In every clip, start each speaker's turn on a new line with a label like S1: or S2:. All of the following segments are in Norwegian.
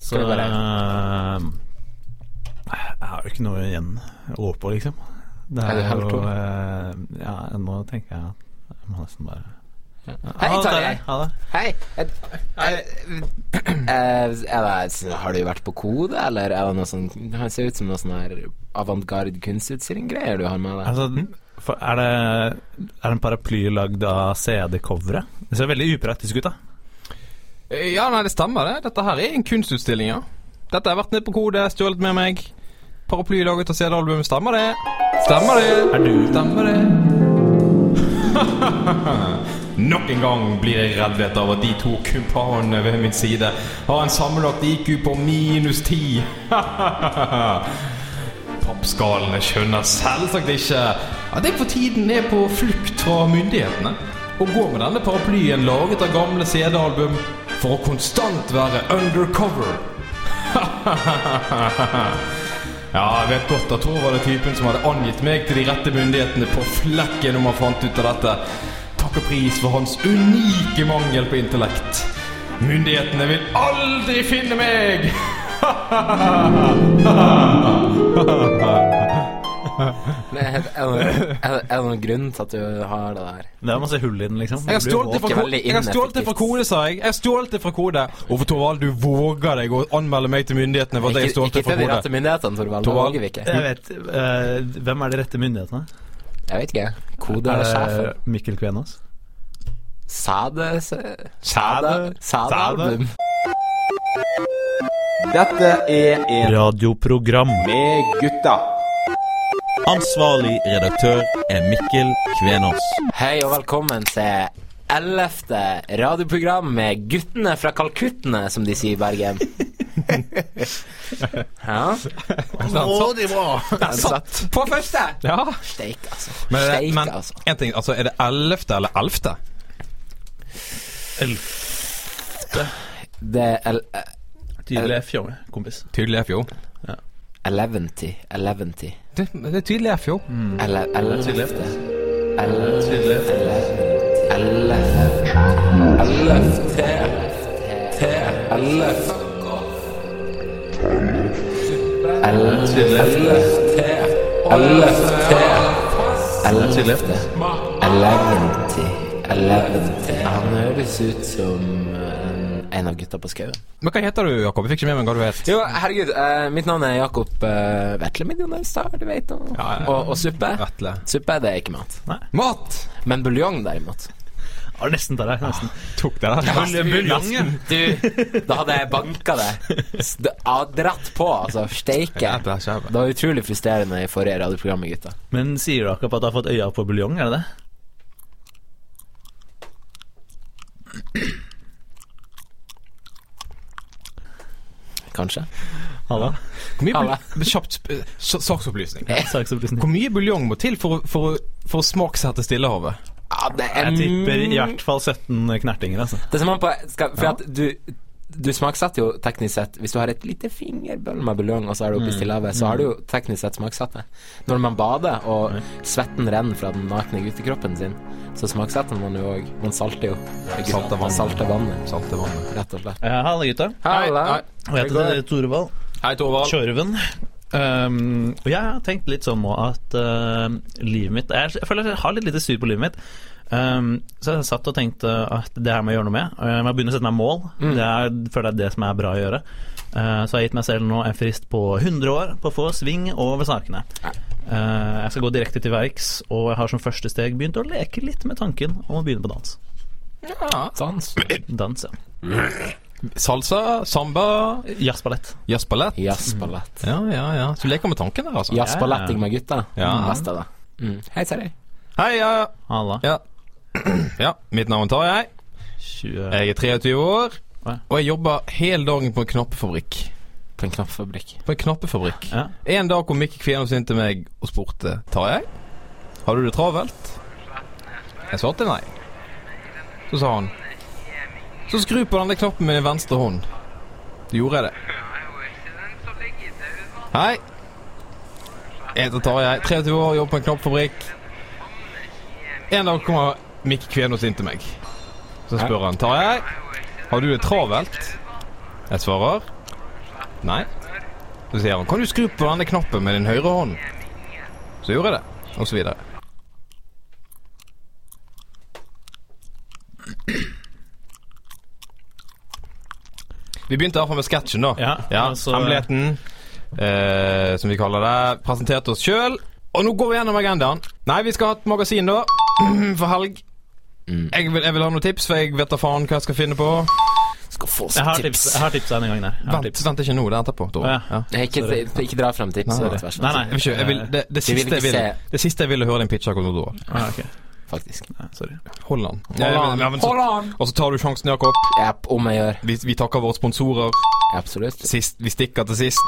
S1: Så
S2: Skal det være
S1: eh, Jeg har jo ikke noe igjen å gå på, liksom. Det
S2: Er du helt tom?
S1: eh, Ja, nå tenker jeg at jeg må nesten bare Ja,
S2: Hei,
S1: ha det,
S2: Tarjei.
S1: Ha det.
S2: Hei! Er, er, er det, har du vært på Kode, eller er det noe sånn Han ser ut som noe sånn her avantgarde kunstutstilling-greier du har med deg.
S1: Altså, for er det Er det en paraply lagd av CD-coveret? Det ser veldig upraktisk ut, da.
S3: Eh, Ja, nei, det stemmer det. Dette her er en kunstutstilling, ja. Dette har jeg vært nede på Kode, stjålet med meg. Paraply laget av CD-albumet. Stemmer det? Stemmer det?
S1: Er du
S3: Stemmer det? Nok en gang blir jeg reddvet av at de to kumpanene ved min side har en sammenlagt IQ på minus 10. Pappskalene skjønner selvsagt ikke at jeg for tiden er på flukt fra myndighetene og går med denne paraplyen laget av gamle CD-album for å konstant være undercover. Ja, jeg vet godt at Tor var den typen som hadde angitt meg til de rette myndighetene på flekken om han fant ut av dette. Takk og pris for hans unike mangel på intellekt. Myndighetene vil aldri finne meg!
S2: Men Er det, er det- er det, er det noen grunn til at du har det der?
S1: Det er masse hull i den, liksom.
S3: Jeg har
S1: Det blir jo
S3: stjålet det fra,
S2: ikke
S3: ko-
S2: veldig
S3: jeg har stjålet det fra
S2: ineffektivt.
S3: kode, sa jeg. Jeg har stjålet det fra kode. Hvorfor, Torvald, du våger deg å anmelde meg til myndighetene for at jeg
S2: Ikke,
S3: stjålet
S2: ikke
S3: det fra
S2: til de rette
S3: kode?
S2: myndighetene, Torvald. Det
S3: Torvald.
S2: våger vi ikke.
S1: Jeg vet eh, Hvem er de rette myndighetene?
S2: Jeg vet ikke. Kode eller sjefen?
S1: Eh, Mikkel Kvenås?
S2: Sæde
S3: Sæde.
S2: Sæde Sædealbum.
S4: Dette er en
S1: Radioprogram.
S4: med gutta.
S5: Ansvarlig redaktør er Mikkel Kvenås.
S2: Hei og velkommen til 11. radioprogram med guttene fra Kalkuttene, som de sier i Bergen. ja. Satt på første!
S3: Ja,
S2: Steik, altså.
S3: men,
S2: Steik,
S3: men
S2: altså.
S3: en ting, altså, er det ellevte eller elfte?
S2: Det er eh,
S1: Tydelig fjomme, kompis.
S3: Tydelig F, jo.
S2: eleventy. Eleventy.
S3: Det, det er tydelig F, jo.
S2: Eller ellevte. Ellevte.
S1: Tydelig F.
S2: Ellevte. Ellevte.
S1: Tydelig F.
S2: Ellevte.
S1: Tydelig F.
S2: Eleventy. Eleventy. Han høres ut som en, en av gutta på skauen.
S3: Men hva heter du, Jakob? Jeg fikk ikke med meg hva du het.
S2: Jo, herregud. eh, mitt navn er Jakob uh, Vetle Midjonnaustad, du vet. Og,
S3: Ja, ja.
S2: og, og suppe.
S3: Vetle.
S2: Suppe, det er ikke mat.
S3: Mat!
S2: Men buljong, derimot.
S1: Ja, nesten tar jeg. Nesten.
S3: Tok det der.
S1: Buljongen.
S2: Du, da hadde jeg banka det. S- det- ah, Dratt på, altså. Steike.
S3: Jævla skjæve.
S2: Det var utrolig frustrerende i forrige radioprogram med gutta.
S1: Men sier du akkurat at du har fått øya på buljong, er det det?
S2: Kanskje.
S1: Halla?
S3: Hvor mye
S2: Alle.
S3: bul- Kjapt sp- s- saksopplysning.
S1: Saksopplysning.
S3: Hvor mye buljong må til for, å- for, å- for å smaksette Stillehavet?
S2: Ja, det er
S1: Jeg tipper i hvert fall 17 knertinger, altså.
S2: Det som han på skal, For at du du smaksetter jo teknisk sett Hvis du har et lite fingerbøll med buljong, og så er du oppe
S3: Mm.
S2: i Stillehavet, så har du jo teknisk sett smaksatt det. Når man bader, og svetten renner fra den nakne guttekroppen sin, så smaksetter man jo òg. Man salter jo.
S3: salter vannet.
S2: Salter vannet,
S3: Salte vannet.
S2: rett og slett.
S1: Ja, Halla, gutta.
S2: Halla.
S3: hei.
S1: Og Jeg heter Torvald.
S3: Hei, Torvald.
S1: Tjørven. Ehm, og jeg har tenkt litt sånn nå at ehm, livet mitt jeg, jeg føler jeg har litt lite styr på livet mitt. Ehm, så jeg satt og tenkte at det her må jeg gjøre noe med. Eh, Jeg må begynne å sette meg mål. Det er, føler jeg er det som er bra å gjøre. Eh, så jeg har gitt meg selv nå en frist på 100 år på å få sving over sakene. Eh, jeg skal gå direkte til verks, og jeg har som første steg begynt å leke litt med tanken om å begynne på dans.
S2: Sans.
S1: Dans, ja.
S3: Salsa, samba,
S1: Jazzballett.
S3: jazzballett.
S2: Jazzballett.
S3: Ja, ja, ja. Så du leker med tanken der, altså.
S2: Jazzballetting med gutta.
S3: Ja.
S2: Best av det. Mm. Hei, Terje.
S3: Hei, ja.
S1: Halla.
S3: ja. Ja, mitt navn er Tarjei.
S1: 20
S3: Jeg er 23 år.
S1: Ja.
S3: Og jeg jobber hele dagen på en knappefabrikk.
S2: På en knappfabrikk.
S3: På en knappefabrikk.
S1: Ja.
S3: En dag kom Mikke Kvenås inn til meg og spurte Tarjei, har du det travelt? Jeg svarte nei. Så sa han Så skru på denne knappen med din venstre hånd. Så gjorde jeg det. Hei. Jeg heter Tarjei, 23 år, jobber på en knappfabrikk. En dag kommer Mikke Kvenås inn til meg. Så spør han Tarjei, har du det travelt? Jeg svarer Nei. Så sier han Kan du skru på denne knappen med din høyre hånd? Så gjorde jeg det. Og så videre. Vi begynte iallfall med sketsjen, da.
S1: Ja, altså-
S3: Hemmeligheten, eh, som vi kaller det. Presenterte oss sjøl. Og nå går vi gjennom agendaen. Nei, vi skal ha et magasin, da. For helg. Jeg, vil, jeg vil ha noen tips, for jeg vet da faen hva jeg skal finne på.
S2: Skal få
S1: Jeg
S2: seg
S1: har tips.
S2: tips.
S1: Jeg har tips denne gangen her. Jeg har
S3: Vent,
S1: tips.
S3: vent ikke nå. Det er etterpå. Tore.
S1: Å, ja.
S3: Ja.
S2: Nei, ikke, ikke dra frem tips.
S3: Nei, nei.
S2: Vær så
S1: Nei,
S2: snill,
S1: nei.
S3: Jeg vil ikke, jeg vil, det, det,
S2: Vi vil
S3: siste jeg
S2: ikke
S3: vil,
S2: se.
S3: det siste jeg ville høre en pitch av Commodore.
S1: Ah, ok.
S2: sånn, Faktisk.
S1: Nei, sorry.
S3: Holland.
S2: Holland.
S3: Ja, men så-
S2: Holland.
S3: Og så tar du sjansen, Jakob.
S2: Ja, om jeg gjør.
S3: Vi, vi takker våre sponsorer.
S2: Ja, Absolutt.
S3: Sist, vi stikker til sist.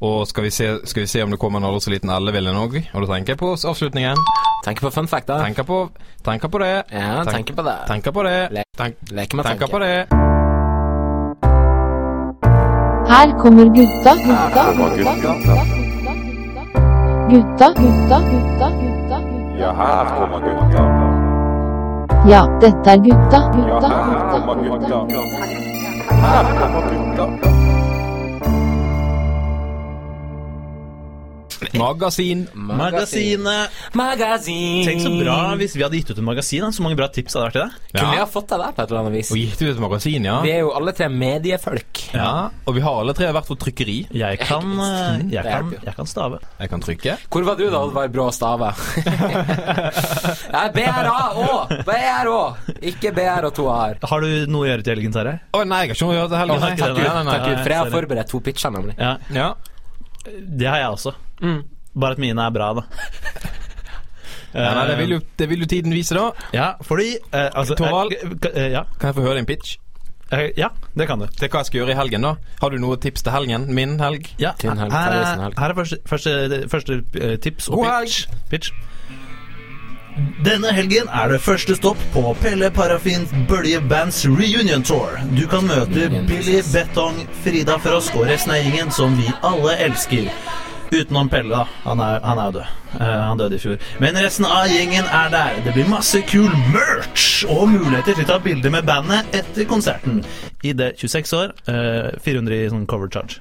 S3: Og skal vi, se, skal vi se om det kommer en aldri så liten ellevilje nå? Og da tenker jeg på avslutningen.
S2: Tenk på fun fact, da.
S3: Tenker på, tenker på det.
S2: Ja,
S3: Tenk-
S2: tenker på det.
S3: Tenker på det.
S2: Le-
S3: Tenk,
S2: Leker med
S3: tenker på
S2: tanke.
S3: det.
S6: Her kommer gutta. Gutta, gutta, gutta. Gutta, gutta, gutta, gutta.
S4: Ja, her kommer gutta.
S6: Ja, dette er gutta.
S4: Ja,
S6: Gutta,
S4: her
S6: gutta,
S4: kommer
S6: gutta.
S4: gutta. Her kommer gutta.
S3: Magasin.
S1: Magasinet. Mm.
S2: Magasin.
S1: Tenk så bra hvis vi hadde gitt ut et magasin. da. Så mange bra tips hadde vært i det.
S2: Kunne vi
S3: Ja.
S2: ha fått deg der på et eller annet vis?
S3: Og gitt ut et magasin, ja.
S2: Vi er jo alle tre mediefolk.
S3: ja. Og vi har alle tre vært på trykkeri.
S1: Jeg kan, eh, jeg
S2: Det
S1: kan,
S2: hjelper jo.
S1: jeg kan stave.
S3: Jeg kan trykke.
S2: Hvor var du da, Oddvar Brå Stave? Nei, BRA-Å! BRÅ! Ikke BR og to A-er.
S1: Har du noe å gjøre til helgen, Terje?
S3: Å nei, jeg har ikke noe å gjøre til
S1: Å,
S3: helgen. nei.
S1: takk Gud,
S3: Nei, nei,
S1: takk
S3: nei.
S1: Gud.
S2: For jeg har
S1: sorry.
S2: forberedt to pitcher, nemlig.
S1: Ja,
S3: Ja.
S1: det har jeg også.
S3: Mm.
S1: Bare at mine er bra, da.
S3: Ja, nei,
S1: Eh.
S3: det, vil jo, det vil jo tiden vise, da.
S1: Ja, fordi eh, altså,
S3: Torvald?
S1: jeg- k- eh, ja,
S3: Kan jeg få høre en pitch?
S1: Eh, ja, det kan du.
S3: Til hva jeg skal gjøre i helgen, da? Har du noe tips til helgen? Min helg?
S1: Ja,
S2: Til en helg,
S1: her,
S2: Terje sin
S1: er,
S2: helg.
S1: her er første, første, første eh, tips og
S3: God
S1: pitch. pitch. Denne helgen er det første stopp på Pelle Parafins Bølje Bands Reunion Tour. Du kan møte Billy Betong, Frida Frosk og resten av gjengen som vi alle elsker. Utenom Pelle, da. Han er, han er jo død. Eh, han døde i fjor. Men resten av gjengen er der. Det blir masse kul merch og muligheter til å ta bilder med bandet etter konserten. ID 26 år, eh, 400 i sånn cover charge.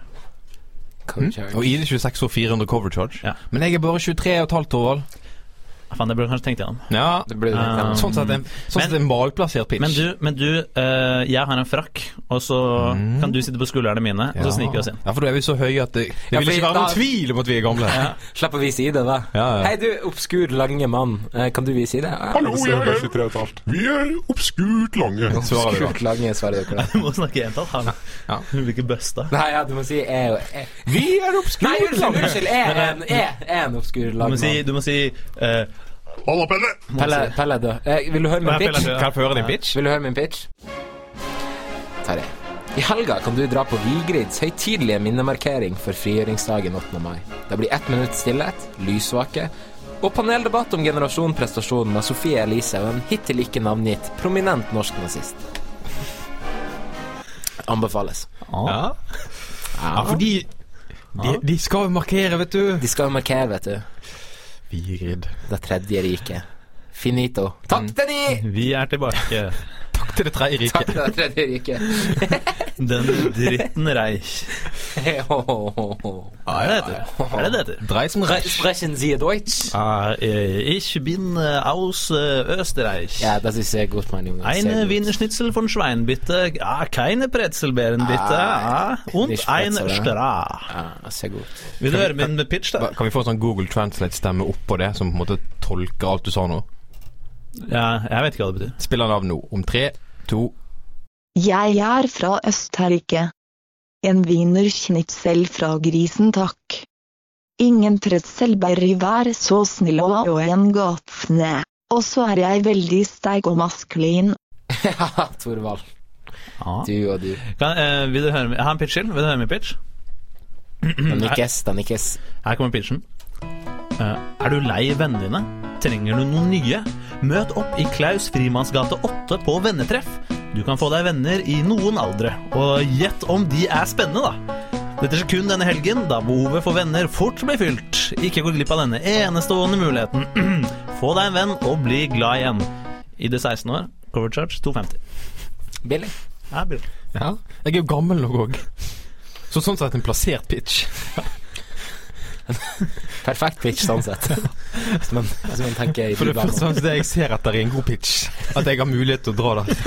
S3: Hm? Og ID 26 og 400 cover charge.
S1: Ja.
S3: Men jeg er bare 23 og et halvt år gammel.
S1: Ah, Faen, det burde jeg kanskje tenkt igjennom.
S3: Ja.
S2: Det ble det.
S1: Eh,
S3: Sånn sett en, sånn sett en malplassert pitch.
S1: Men du, men du eh, jeg har en frakk, og så kan du sitte på skuldrene mine, og så sniker vi oss inn.
S3: Ja, for da er vi så høye at det, det
S2: Ja,
S3: vil
S2: fordi
S3: ikke være
S2: da-
S3: noen tvil om at vi er gamle.
S2: Slipp å vise ID, da.
S3: Ja, ja.
S2: Hei, du obskur, lange mann. Eh, Kan du vise ID? Ja,
S7: Hallo, jeg er, vi er obskurt lange.
S3: Svarer vi da.
S2: Obskurt lange, svarer dere.
S1: Du må snakke entall. Han
S3: Ja.
S1: Hun blir ikke busta.
S2: Nei, ja, du må si E og E.
S3: Vi er
S2: Nei,
S3: obskurt
S2: unnskyld,
S3: lange!
S2: unnskyld. E er en, e, er en obskur
S1: Du
S2: lang
S1: må si,
S2: mann.
S1: du må si eh,
S7: Halla, Pelle!
S2: Pelle, Pelle er død. Eh, Vil du høre min
S1: Nei, Pelle er
S2: pitch?
S1: død.
S3: Kan jeg få høre din pitch?
S2: Vil du høre min pitch? Terje. I helga kan du dra på Vigrids høytidelige minnemarkering for frigjøringsdagen 8. mai. Det blir ett minutt stillhet, lysvake og paneldebatt om generasjon prestasjon med Sofie Elise og en hittil ikke navngitt prominent norsk nazist. Anbefales.
S3: Ja. ja, fordi de, de skal jo markere, vet du.
S2: De skal jo markere, vet du.
S3: Vigrid.
S2: Det tredje riket. Finito. Takk til de!
S1: Vi er tilbake.
S3: Takk til det tredje
S2: Takk
S3: riket.
S2: til det tredje riket.
S1: Den dritten Reich. Hva er det heter? Hva er det det heter?
S3: Drei som rei.
S2: Sprechen Sie Deutsch?
S1: Ah, eh, ich bin eh, aus eh, Österreich.
S2: Ja, das ist sehr gut, mein Junge. Sehr
S1: Eine
S2: gut.
S1: Wienerschnitzel von Schweinbitte, ah, keine Brezelbeeren bitte, ah, und
S2: nicht
S1: ein
S2: Brezel, ja.
S1: Stra.
S2: Ja, sehr gut.
S1: Vil du høre min pitch, da?
S3: Kan vi få en sånn Google Translate-stemme oppå det, som på en måte tolker alt du sa nå?
S1: Ja, jeg vet ikke hva det betyr.
S3: Spiller den av nå. Om tre, to
S8: Jeg er fra Østerrike. En wienerschnitzel fra grisen, takk. Ingen pretzelberry, vær så snill og og en gatfne. Og så er jeg veldig sterk og maskulin.
S2: Ja, Torvald.
S1: Ah.
S2: Du og du.
S1: Kan, eh, vil du høre, min- jeg har en pitch til. Vil du høre min pitch?
S2: Den nikkes, den nikkes.
S1: Her kommer pitchen. Eh, er du lei vennene dine? Trenger du noen nye? Møt opp i Klaus Frimannsgate 8 på vennetreff. Du kan få deg venner i noen aldre. Og gjett om de er spennende, da. Dette er kun denne helgen, da behovet for venner fort blir fylt. Ikke gå glipp av denne enestående muligheten. Få deg en venn og bli glad igjen. ID 16 år, cover charge 250.
S2: Billig.
S1: Ja, bra.
S3: Ja. Jeg er jo gammel nok òg. Så sånn sett en plassert pitch.
S2: Perfekt pitch, sånn sett. Som man, som man tenker i
S3: For det
S2: Dubai nå.
S3: første det jeg ser etter, er en god pitch. At jeg har mulighet til å dra den.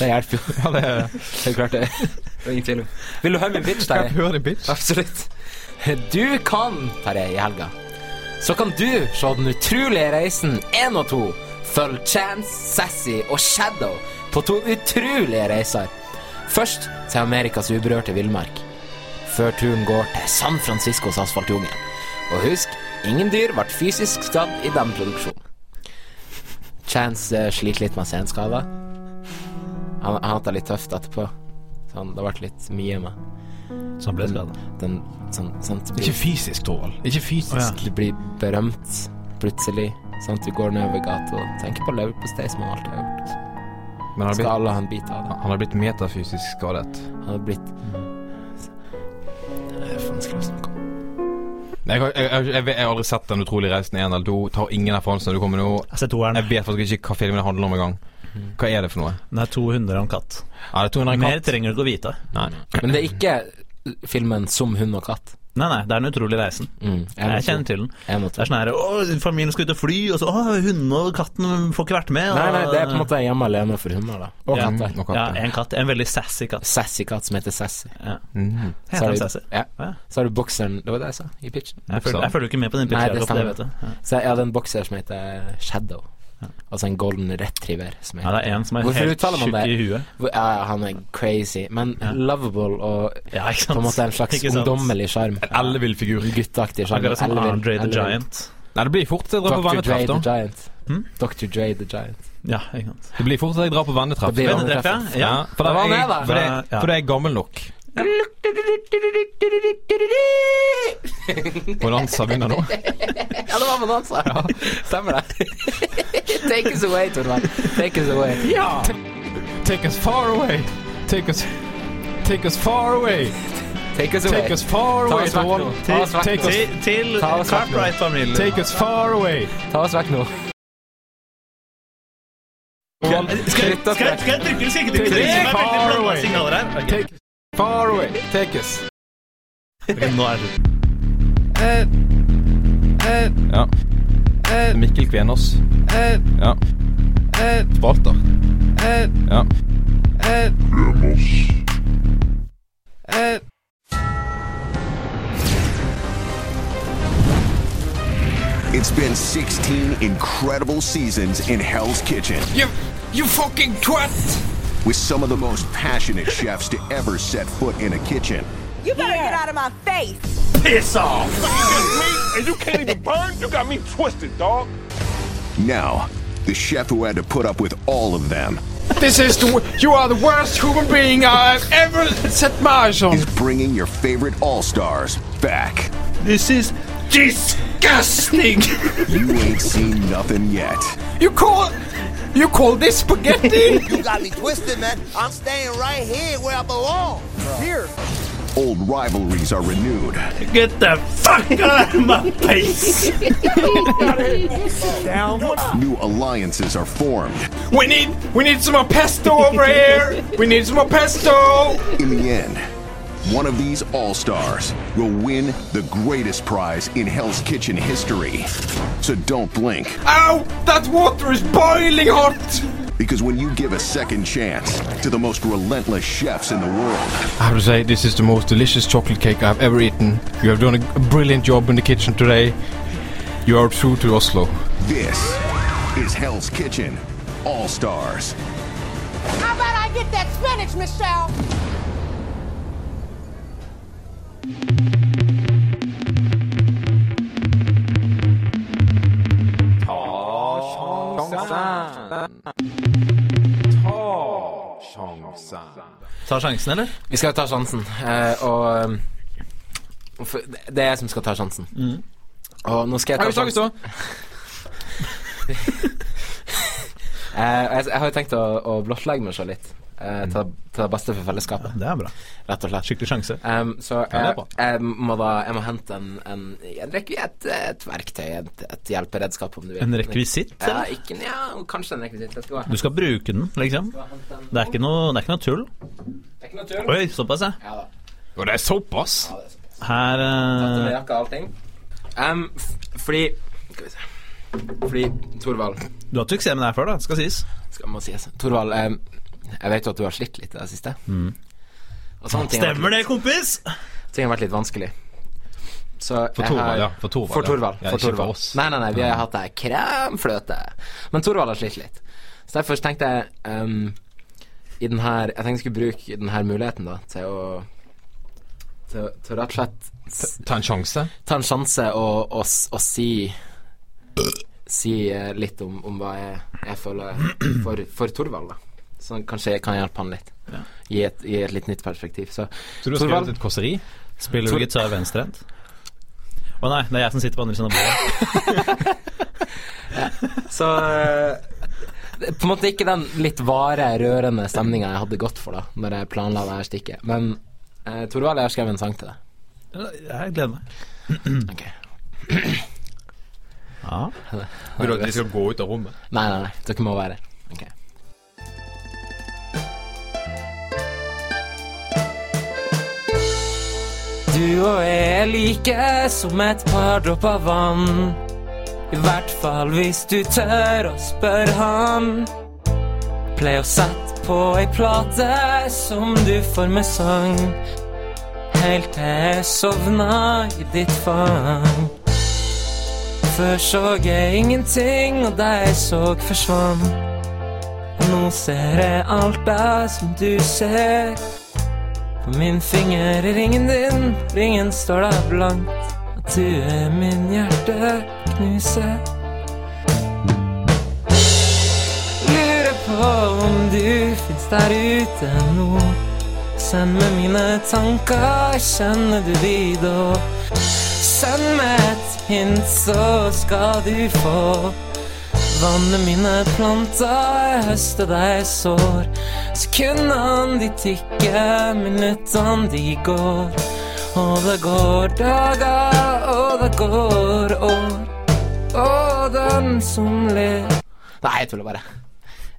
S2: Det hjelper jo.
S3: Ja, det er,
S2: Det er klart, det. det er ingen tvil om. Vil du høre min pitch,
S3: kan jeg
S2: Terje?
S3: høre din pitch?
S2: Absolutt. Du kan, Terje, i helga. Så kan du se Den utrolige reisen 1 og 2. Følg Chance, Sassy og Shadow på to utrolige reiser. Først til Amerikas uberørte villmark. Før turen går til San Franciscos asfaltjungel. Og husk, ingen dyr ble fysisk skadd i den produksjonen. Chance eh, sliter litt med senskader. Han, han hadde det litt tøft etterpå. Så han, det ble litt mye med
S1: Så han ble skadet.
S2: den sånn, sant,
S3: Ikke
S2: blir,
S3: fysisk, Torvald. Ikke fysisk.
S1: Å, ja.
S2: Du blir berømt plutselig. Sant? Du går nedover gata og tenker på leverpostei som han alltid har gjort.
S3: Men han har
S2: Skal
S3: blitt,
S2: alle ha en bit av det?
S3: han har blitt metafysisk skadet.
S2: Han har blitt Det er vanskelig å snakke om.
S3: Nei, Jeg har, jeg, jeg, jeg, vet- jeg har aldri sett Den utrolige reisen i en eller to. Tar ingen referanser når du kommer nå.
S1: Jeg ser toeren.
S3: Jeg vet faktisk ikke hva filmen handler om engang. Hva er det for noe?
S1: Den er 200 og en katt.
S3: Er det 200
S1: Mer
S3: katt?
S1: trenger du ikke å vite.
S3: Nei.
S2: Men det er ikke filmen 'Som hund og katt'.
S1: Nei, nei, det er en utrolig reisen.
S2: Mm, en og
S1: Jeg
S2: to.
S1: kjenner til den.
S2: En og
S1: Det
S2: to.
S1: er sånn her Å, familien skal ut og fly, og så Å, hundene og katten får ikke vært med. og-
S2: Nei, nei, det er på en måte hjemme alene for hunder, da. Og
S1: Ja. Mm.
S2: katter.
S3: Og
S1: Ja,
S3: katt, ja.
S1: en katt. En veldig sassy katt.
S2: Sassy katt som heter Sassy.
S1: Ja.
S3: Mhm.
S1: Heter han
S2: Så har
S1: sassy?
S2: du- Ja.
S1: Ja.
S2: Så har du bokseren Det var det jeg sa i pitchen.
S1: Jeg følger, jeg følger ikke med på den
S2: Nei,
S1: pitchen,
S2: det
S1: Jakob, det
S2: stemmer.
S1: vet du. Ja.
S2: Så jeg hadde en bokser som heter Shadow. Altså en golden retriever. Som
S1: Ja,
S2: heter.
S1: det er en som er
S2: Hvorfor
S1: helt
S2: uttaler man
S1: tjukk i
S2: det?
S1: huet.
S2: Hvor- Ja, ja, han er crazy, men
S1: Ja.
S2: lovable og
S1: Ja, ikke sant?
S2: på en måte en slags
S1: Ikke sant?
S2: ungdommelig sjarm.
S3: En ellevill figur.
S2: Gutteaktig sjarm.
S1: Akkurat som
S2: Ellevill,
S1: Andre the
S2: ellevill.
S1: Giant.
S3: Nei, det blir fort til jeg drar på
S2: Dr. Dre
S3: vennetreff,
S2: the
S3: da.
S2: Giant.
S1: Hm?
S2: Dr. Dre the Giant.
S1: Ja, ikke sant.
S3: Det blir fort til jeg drar på vennetreff.
S2: Det blir
S3: Venn-
S1: Vennetreff, ja.
S3: Ja,
S1: ja.
S3: for da
S2: Da var han
S3: er
S2: med,
S3: jeg,
S2: da.
S3: for det,
S1: Ja.
S3: for det er gammel nok. Bonanza begynner nå.
S2: Ja, det var Bonanza! Stemmer det. Take us away, Torvald. Take us away.
S3: Ja! Take us far away. Take us Take us far away.
S2: Take us away.
S3: Take us far
S2: Ta
S3: away,
S2: oss vekk
S3: Torvald.
S2: nå. Ta oss vekk
S3: Take
S2: nå.
S3: us-
S1: Til, til
S2: Ta oss vekk nå.
S1: Cartwright-familien.
S3: Take us far away.
S2: Ta oss vekk nå.
S3: Torvald,
S1: Skal jeg, skal, jeg, skal jeg trykke eller skal jeg ikke trykke? Det er veldig
S3: Far
S1: blanda
S3: away.
S1: signaler her. Ok.
S3: Take far away. Take us.
S1: Ok, Nå er det slutt.
S3: Ja. Mikkel Kvenås. Ja. Spalter. Ja.
S9: It's been 16 incredible seasons in Hell's Kitchen
S3: You, you fucking twat!
S9: with some of the most passionate chefs to ever set foot in a kitchen.
S10: You better get out of my face.
S4: And you can't even burn? You got me twisted, dog.
S9: Now, the chef who had to put up with all of them
S3: This is the. w- You are the worst human being I've ever set my eyes on.
S9: is bringing your favorite All Stars back.
S1: This is
S3: Disgusting!
S9: You ain't seen nothing yet.
S3: You call. You call this spaghetti?
S10: You got me twisted, man. I'm staying right here where I belong. Here.
S9: Old rivalries are renewed,
S1: Get the fuck out of my face!
S9: new alliances are formed.
S3: we need. We need some more pesto over here. We need some more pesto.
S9: In the end, one of these All Stars will win the greatest prize in Hell's Kitchen history. So don't blink.
S3: Ow! That water is boiling hot.
S9: Because when you give a second chance to the most relentless chefs in the world,
S3: I have to say, this is the most delicious chocolate cake I've ever eaten. You have done a brilliant job in the kitchen today. You are true to Oslo.
S9: this is Hell's Kitchen All Stars.
S10: How about I get that spinach, Michelle?
S1: Ta sjansen, eller?
S2: Vi skal ta sjansen, eh, og um, for, Det er jeg som skal ta sjansen. Og nå skal jeg ta sjansen. Eh, og jeg, jeg har jo tenkt å, å blottlegge meg sjøl litt. eh, til, til det beste for fellesskapet,
S1: Det er bra.
S2: rett og slett.
S1: Skikkelig sjanse.
S2: Um, så
S1: det er
S2: jeg,
S1: bra.
S2: jeg må da Jeg må hente en, en, en rekke, et, et verktøy, et, et hjelperedskap, om du vil.
S1: En rekvisitt?
S2: Ja,
S1: eller?
S2: ikke, ja, kanskje en rekvisitt. Jeg skal
S1: Du skal bruke den, liksom?
S2: hente en
S1: Det er ikke noe, det er ikke noe tull?
S2: Det er ikke noe tull.
S1: Oi, såpass, ja.
S2: Ja da.
S3: Og det er såpass?
S1: Her
S2: Tatt med
S1: eh,
S2: jakka og allting. Em, f fordi Skal vi se. Fordi Thorvald
S1: Du har hatt suksess med det her før, da, skal sies.
S2: Skal må sies. Thorvald, em, jeg vet jo at du har slitt litt i det siste. Og sånne ting har
S1: Mm.
S2: vært
S1: Stemmer det,
S2: litt-
S1: kompis?
S2: Ting har vært litt vanskelig. Så
S3: For
S2: jeg har-
S3: Thorvald, ja. For Thorvald.
S2: For
S3: ja.
S2: Thorvald.
S3: Ja,
S2: for
S3: ikke
S2: Thorvald.
S3: for oss.
S2: Nei, nei, nei, vi har hatt det kremfløte. Men Thorvald har slitt litt. Så derfor så tenkte jeg ehm, i den her, Jeg tenkte jeg skulle bruke den her muligheten da til å Til, å- til å rett og slett s-
S3: Ta en sjanse.
S2: ta en sjanse og, og, s- og si Si eh, litt om, om hva jeg, jeg føler for, for Thorvald, da. Så kanskje jeg kan hjelpe han litt. Gi, et, gi et litt nytt perspektiv. Så,
S3: Så du har
S2: Thorvald-
S3: skrevet et kåseri?
S1: Spiller
S2: Tor-
S1: du gitar venstrehendt? Å nei, det er jeg som sitter på andre siden av bordet.
S2: Så eh, det er På en måte ikke den litt vare, rørende stemninga jeg hadde gått for da Når jeg planla det her stikket. Men eh, Torvald, jeg har skrevet en sang til deg.
S1: Jeg gleder meg. Ja.
S3: Vil du at vi skal gå ut av rommet?
S2: Nei, nei, nei. Dere må være Ok Du og jeg er like som et par dråper vann. I hvert fall hvis du tør å spørre han. Pleier å sette på ei plate som du får med sang. Helt til jeg sovna i ditt fang. Før så jeg ingenting, og det jeg så forsvann. Og nå ser jeg alt det som du ser. På min finger er ringen din, ringen står der blankt. At du er min hjerteknuser. Lurer på om du fins der ute nå. Send meg mine tanker, kjenner du de da? Send meg et hint, så skal du få vanne mine planter, høste deg sår. Sekundene de tikker, minuttene de går. Og det går dager, og det går år. Og den som ler Nei, jeg tuller bare.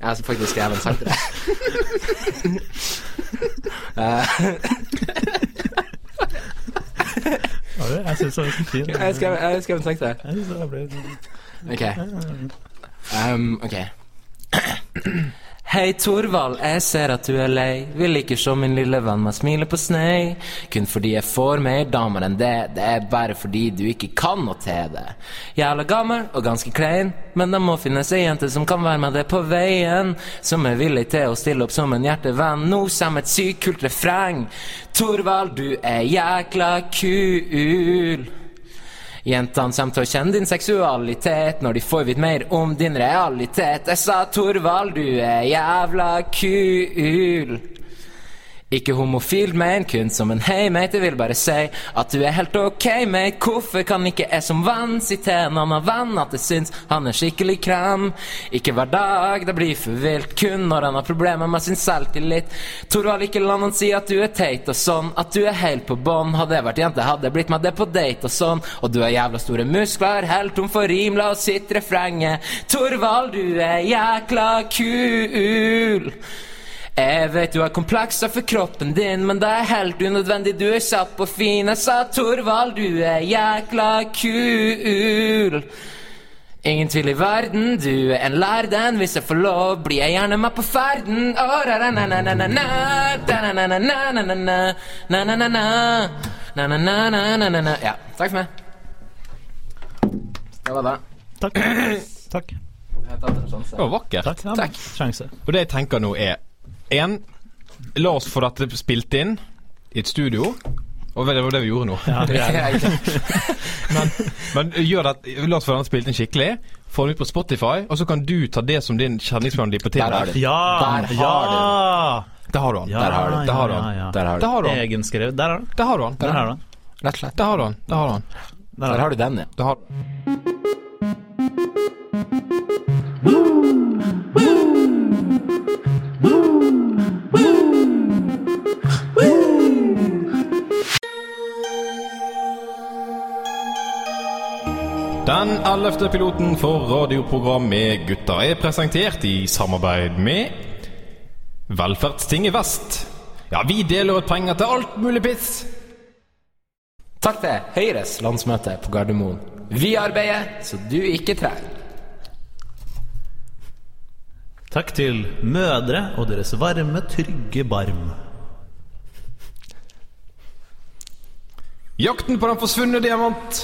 S2: Jeg har faktisk skrevet en sang til deg.
S1: Ja, det- Jeg syns det var så fint.
S2: Jeg skrev, jeg skrev en sang til deg.
S1: Jeg synes det ble-
S2: Ok. Um, ok. Hei, Torvald, jeg ser at du er lei. Vil ikke se min lille venn meg smile på snei. Kun fordi jeg får mer damer enn det. Det er bare fordi du ikke kan noe til det. Jævla gammel og ganske klein, men det må finnes ei jente som kan være med deg på veien. Som er villig til å stille opp som en hjertevenn. Nå kommer et sykt kult refreng. Torvald, du er jækla kul. Jentene kommer til å kjenne din seksualitet når de får vite mer om din realitet. Jeg sa Torvald, du er jævla kul. Ikke homofilt, men kun som en hei, mate. Jeg vil bare si at du er helt ok, mate. Hvorfor kan ikke jeg som venn si til en annen venn at jeg syns han er skikkelig krem? Ikke hver dag, det blir for vilt. Kun når han har problemer med sin selvtillit. Torvald, ikke la noen si at du er teit og sånn, at du er helt på bånn. Hadde jeg vært jente, hadde jeg blitt med deg på date og sånn. Og du har jævla store muskler, helt tom for rim, la oss sitte refrenget. Torvald, du er jækla kul. Jeg vet du har komplekser for kroppen din, men det er helt unødvendig. Du er kjapp og fin. Jeg sa Torvald, du er jækla kul. Ingen tvil i verden, du er en lærd en. Hvis jeg får lov, blir jeg gjerne med på ferden. Å, ra-ra-na-na-na-na-na, da-na-na-na-na-na-na, na-na-na-na, na-na-na-na-na-na. Ja. Takk for meg. Det var det.
S1: Takk. Takk.
S2: Jeg har tatt en sjanse.
S3: Det var vakkert.
S1: Takk. Ja,
S2: Takk.
S1: Sjanse.
S3: Og det jeg tenker nå er En, la oss få dette spilt inn i et studio. Og det var det vi gjorde nå.
S1: Ja, det er-
S3: Men gjør det, la oss få den spilt inn skikkelig. Få den ut på Spotify, og så kan du ta det som din kjenningsmelodi på TV.
S2: Der har du.
S1: ja!
S2: Der
S1: ja.
S2: har
S3: Der har du den.
S1: Ja,
S3: Der har du den. Der har du
S1: ja,
S3: den.
S1: ja, ja.
S2: Der har du
S3: Der har du den.
S1: Egenskrevet. Der har du den.
S3: Der har du den.
S1: Der har du den.
S2: Rett og slett.
S3: Der har du den. Der har du den.
S1: Der
S2: Der
S1: har
S2: har du den, ja.
S3: Der har Den ellevte piloten for radioprogram med Gutta er presentert i samarbeid med Velferdstinget Vest. Ja, vi deler ut penger til alt mulig piss.
S2: Takk til Høyres landsmøte på Gardermoen. Vi arbeider så du ikke trenger.
S1: Takk til mødre og deres varme, trygge barm.
S3: Jakten på den forsvunne diamant.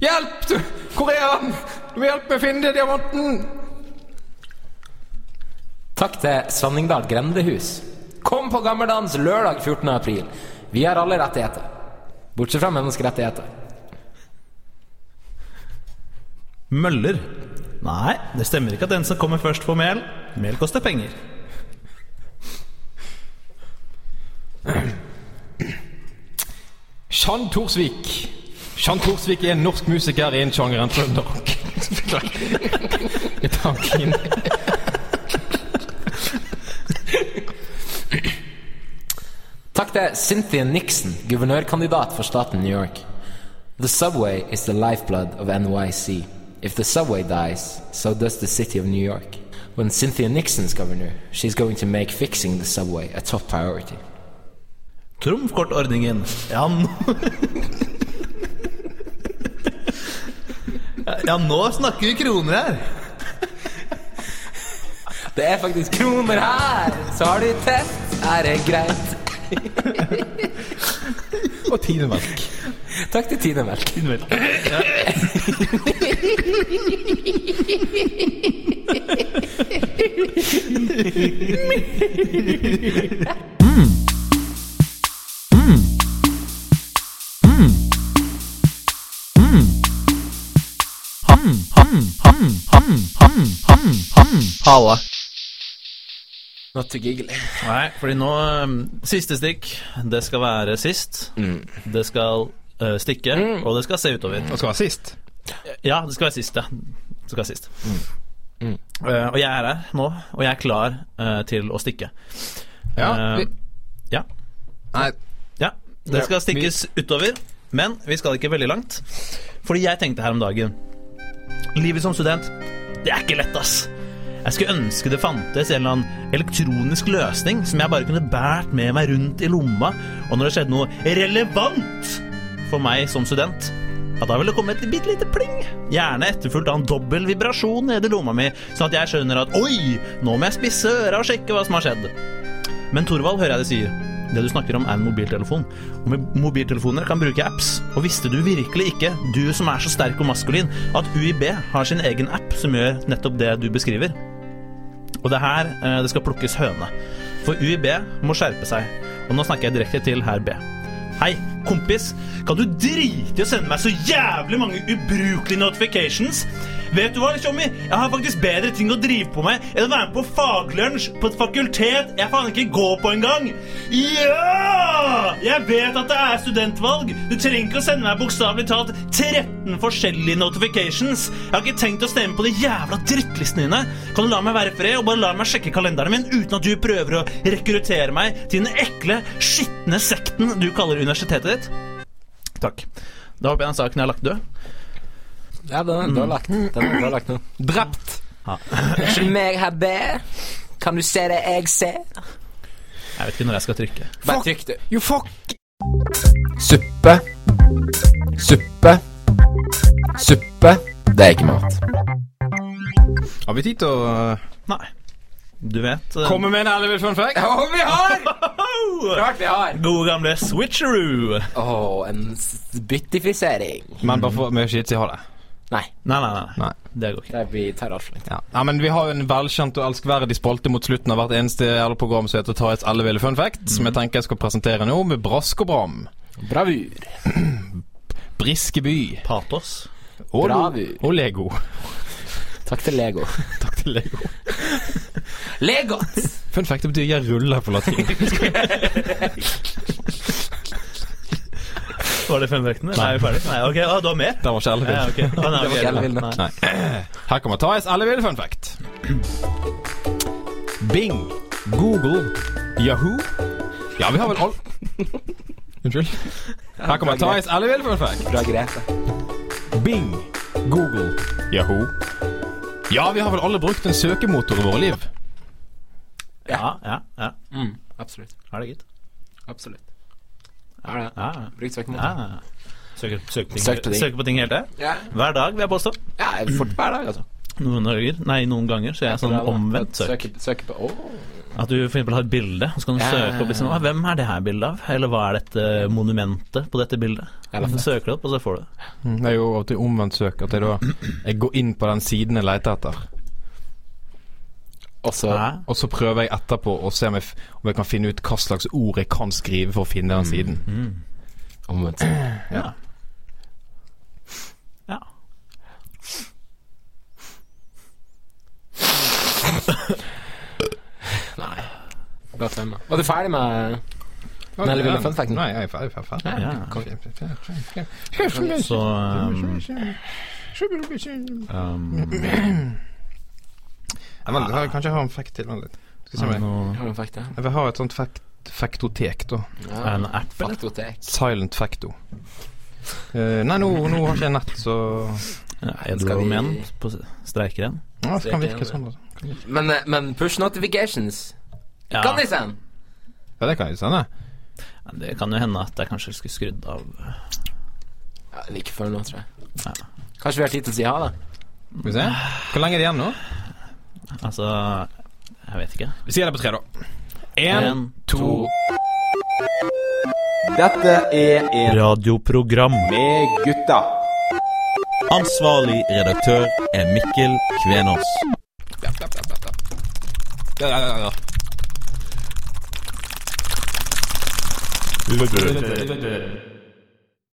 S3: Hjelp! Du, hvor er han? Du må hjelpe meg å finne diamanten!
S2: Takk til Sanningdal grendehus. Kom på gammeldans lørdag 14. april. Vi har alle rettigheter. Bortsett fra menneskerettigheter.
S1: Møller. Nei, det stemmer ikke at den som kommer først, får mel. Mel koster penger.
S3: Shan Thorsvik. Shan Thorsvik er en norsk musiker i en sjanger enn trønderrock. Tanken.
S2: Takk til Cynthia Nixon, guvernørkandidat for staten New York. The subway is the lifeblood of NYC. If the subway dies, so does the city of New York. When Cynthia Nixon's governor, she's going to make fixing the subway a top priority.
S1: Trumfkortordningen. Ja, nå Ja, nå snakker vi kroner her.
S2: Det er faktisk kroner her! Så har du teft. Her er greit.
S1: Og tinemelk.
S2: Takk til Tinemelk.
S1: Halla.
S2: Not to giggle.
S1: Nei, fordi nå um, Siste stikk. Det skal være sist. Det skal uh, stikke,
S3: Mm.
S1: og det skal se utover.
S3: Han skal være sist.
S1: Ja, det skal være sist, ja. Det skal være sist.
S3: Mm.
S1: Uh, og jeg er her nå, og jeg er klar uh, til å stikke.
S3: Ja,
S1: Uh,
S3: vi,
S1: ja.
S3: nei,
S1: Ja, det skal stikkes utover, men vi skal ikke veldig langt. Fordi jeg tenkte her om dagen Livet som student, det er ikke lett, ass. Jeg skulle ønske det fantes en eller annen elektronisk løsning som jeg bare kunne bært med meg rundt i lomma, og når det skjedde noe relevant for meg som student, ja, da ville det komme et bitte lite pling. Gjerne etterfulgt av en dobbel vibrasjon nede i lomma mi, sånn at jeg skjønner at oi, nå må jeg spisse øra og sjekke hva som har skjedd. Men Torvald hører jeg det sier. Det du snakker om, er en mobiltelefon. Og med mobiltelefoner kan bruke apps. Og visste du virkelig ikke, du som er så sterk og maskulin, at UiB har sin egen app som gjør nettopp det du beskriver? Og det er her eh, det skal plukkes høne. For UiB må skjerpe seg. Og nå snakker jeg direkte til herr B. Hei, kompis. Kan du drite i å sende meg så jævlig mange ubrukelige notifications? Vet du hva, Tjommi? Jeg har faktisk bedre ting å drive på med enn å være med på faglunsj på et fakultet jeg faen ikke går på engang. Ja! Jeg vet at det er studentvalg. Du trenger ikke å sende meg bokstavelig talt 13 forskjellige notifications. Jeg har ikke tenkt å stemme på de jævla drittlistene dine. Kan du la meg være i fred og bare la meg sjekke kalenderen min uten at du prøver å rekruttere meg til den ekle, skitne sekten du kaller universitetet ditt? Takk. Da håper jeg den saken jeg har lagt død.
S2: Ja, den er dårlagt. Den er dårlagt nå.
S3: drept.
S2: Ikke meg her, B. Kan du se det jeg ser?
S1: Jeg vet ikke når jeg skal trykke.
S2: Bare trykk, du.
S3: You fuck!
S2: Suppe. Suppe. Suppe. Det er ikke mat.
S3: Har vi tid til å eh,
S1: Nei. Du vet eh,
S3: komme med en ærlig fun fact?
S2: Å, vi har! Klart vi har.
S1: Gode gamle switcheroo.
S2: Å, en s- byttifisering.
S3: Men bare for mye skitt, jeg har det.
S2: Nei,
S1: Nei, nei, nei. nei.
S3: Nei.
S1: Det går ikke.
S2: det blir tar altfor lenge.
S3: Ja. ja, men Vi har jo en velkjent og elskverdig spalte mot slutten av hvert eneste jævla program som heter Tarjets elleville fun fact, som jeg tenker jeg skal presentere nå med brask og bram.
S2: Bravur.
S3: Briskeby
S1: Patos.
S3: og,
S2: Bravur.
S3: og Lego.
S2: Takk til Lego.
S3: Takk til Lego.
S2: Legot!
S3: Fun fact det betyr 'jeg ruller' på latin.
S1: Var det femvekten? Nei, er vi ferdig? Nei, ok, ah, du har mer?
S3: Den var ikke ellevill.
S1: Ja, ok. Ah, nei, ok.
S2: ellevill nok.
S1: Nei.
S3: Nei. Her kommer Thais elleville fun fact. Bing, Google, Yahoo Ja, vi har vel all... Unnskyld. Her kommer Thais elleville fun fact.
S2: Bra Grete.
S3: Bing, Google, Yahoo Ja, vi har vel alle brukt en søkemotor i våre liv.
S1: Ja, ja, ja.
S3: Mm,
S2: Absolutt.
S1: Er det gitt?
S2: Absolutt. Ja, ja. Brukt søkemotor.
S1: Ah. Søker, søker, ting,
S2: Søk på ting.
S1: søker på ting hele tida?
S2: Ja.
S1: Hver dag, vil jeg påstå.
S2: Ja, fort hver dag, altså.
S1: Noen dager, nei, noen ganger så er jeg sånn omvendt søk.
S2: Søker, søker på Åh.
S1: At du for eksempel har et bilde, og så kan du
S2: Ja.
S1: søke opp liksom, «Å, Hvem er det her bildet av? Eller hva er dette monumentet på dette bildet?
S2: Eller
S1: Så søker du opp, og så får du det.
S3: Mm, Det er jo alltid omvendt søk. At jeg da jeg går inn på den siden jeg leter etter,
S2: Og så
S1: Hæ?
S3: og så prøver jeg etterpå å se om jeg, f- om jeg kan finne ut hva slags ord jeg kan skrive for å finne den siden.
S2: omvendt.
S1: Ja. ja.
S2: Nei. Bra stemme. Var du ferdig med Nei, eller vil du fun facten?
S3: Nei, jeg er ferdig. ferdig, ferdig.
S1: Ja.
S3: Så
S1: Så um, um,
S3: Ja, vent, jeg Kanskje jeg har en fact til. Vent litt. Skal vi se om
S1: er det
S3: jeg-
S1: noe-
S2: Har du en fakta?
S3: Jeg vil ha et sånt fact, faktotek, da.
S1: er det noe app, eller?
S2: Faktotek.
S3: Silent facto. Eh, nei, nå, nå har ikke jeg nett, så
S1: Ja, er det
S2: Skal vi-
S1: noe menn på streiker igjen?
S3: ja, Det kan virke sånn. Altså.
S2: Men, eh, men push notifications
S1: Ja,
S2: kan de sende!
S3: Ja, det kan jeg sende.
S1: det kan jo hende at jeg kanskje skulle skrudd av
S2: Ja, like før nå, tror jeg.
S1: Ja.
S2: Kanskje vi har tid til å si ha det?
S3: Skal vi se. Hvor lenge er det igjen nå?
S1: Altså, jeg vet ikke.
S3: Vi sier det på tre, da.
S1: En,
S2: To.
S5: Dette er en
S1: radioprogram.
S5: med gutta. Ansvarlig redaktør er Mikkel Kvenås.
S3: Ja, ja, ja, ja.
S7: Dette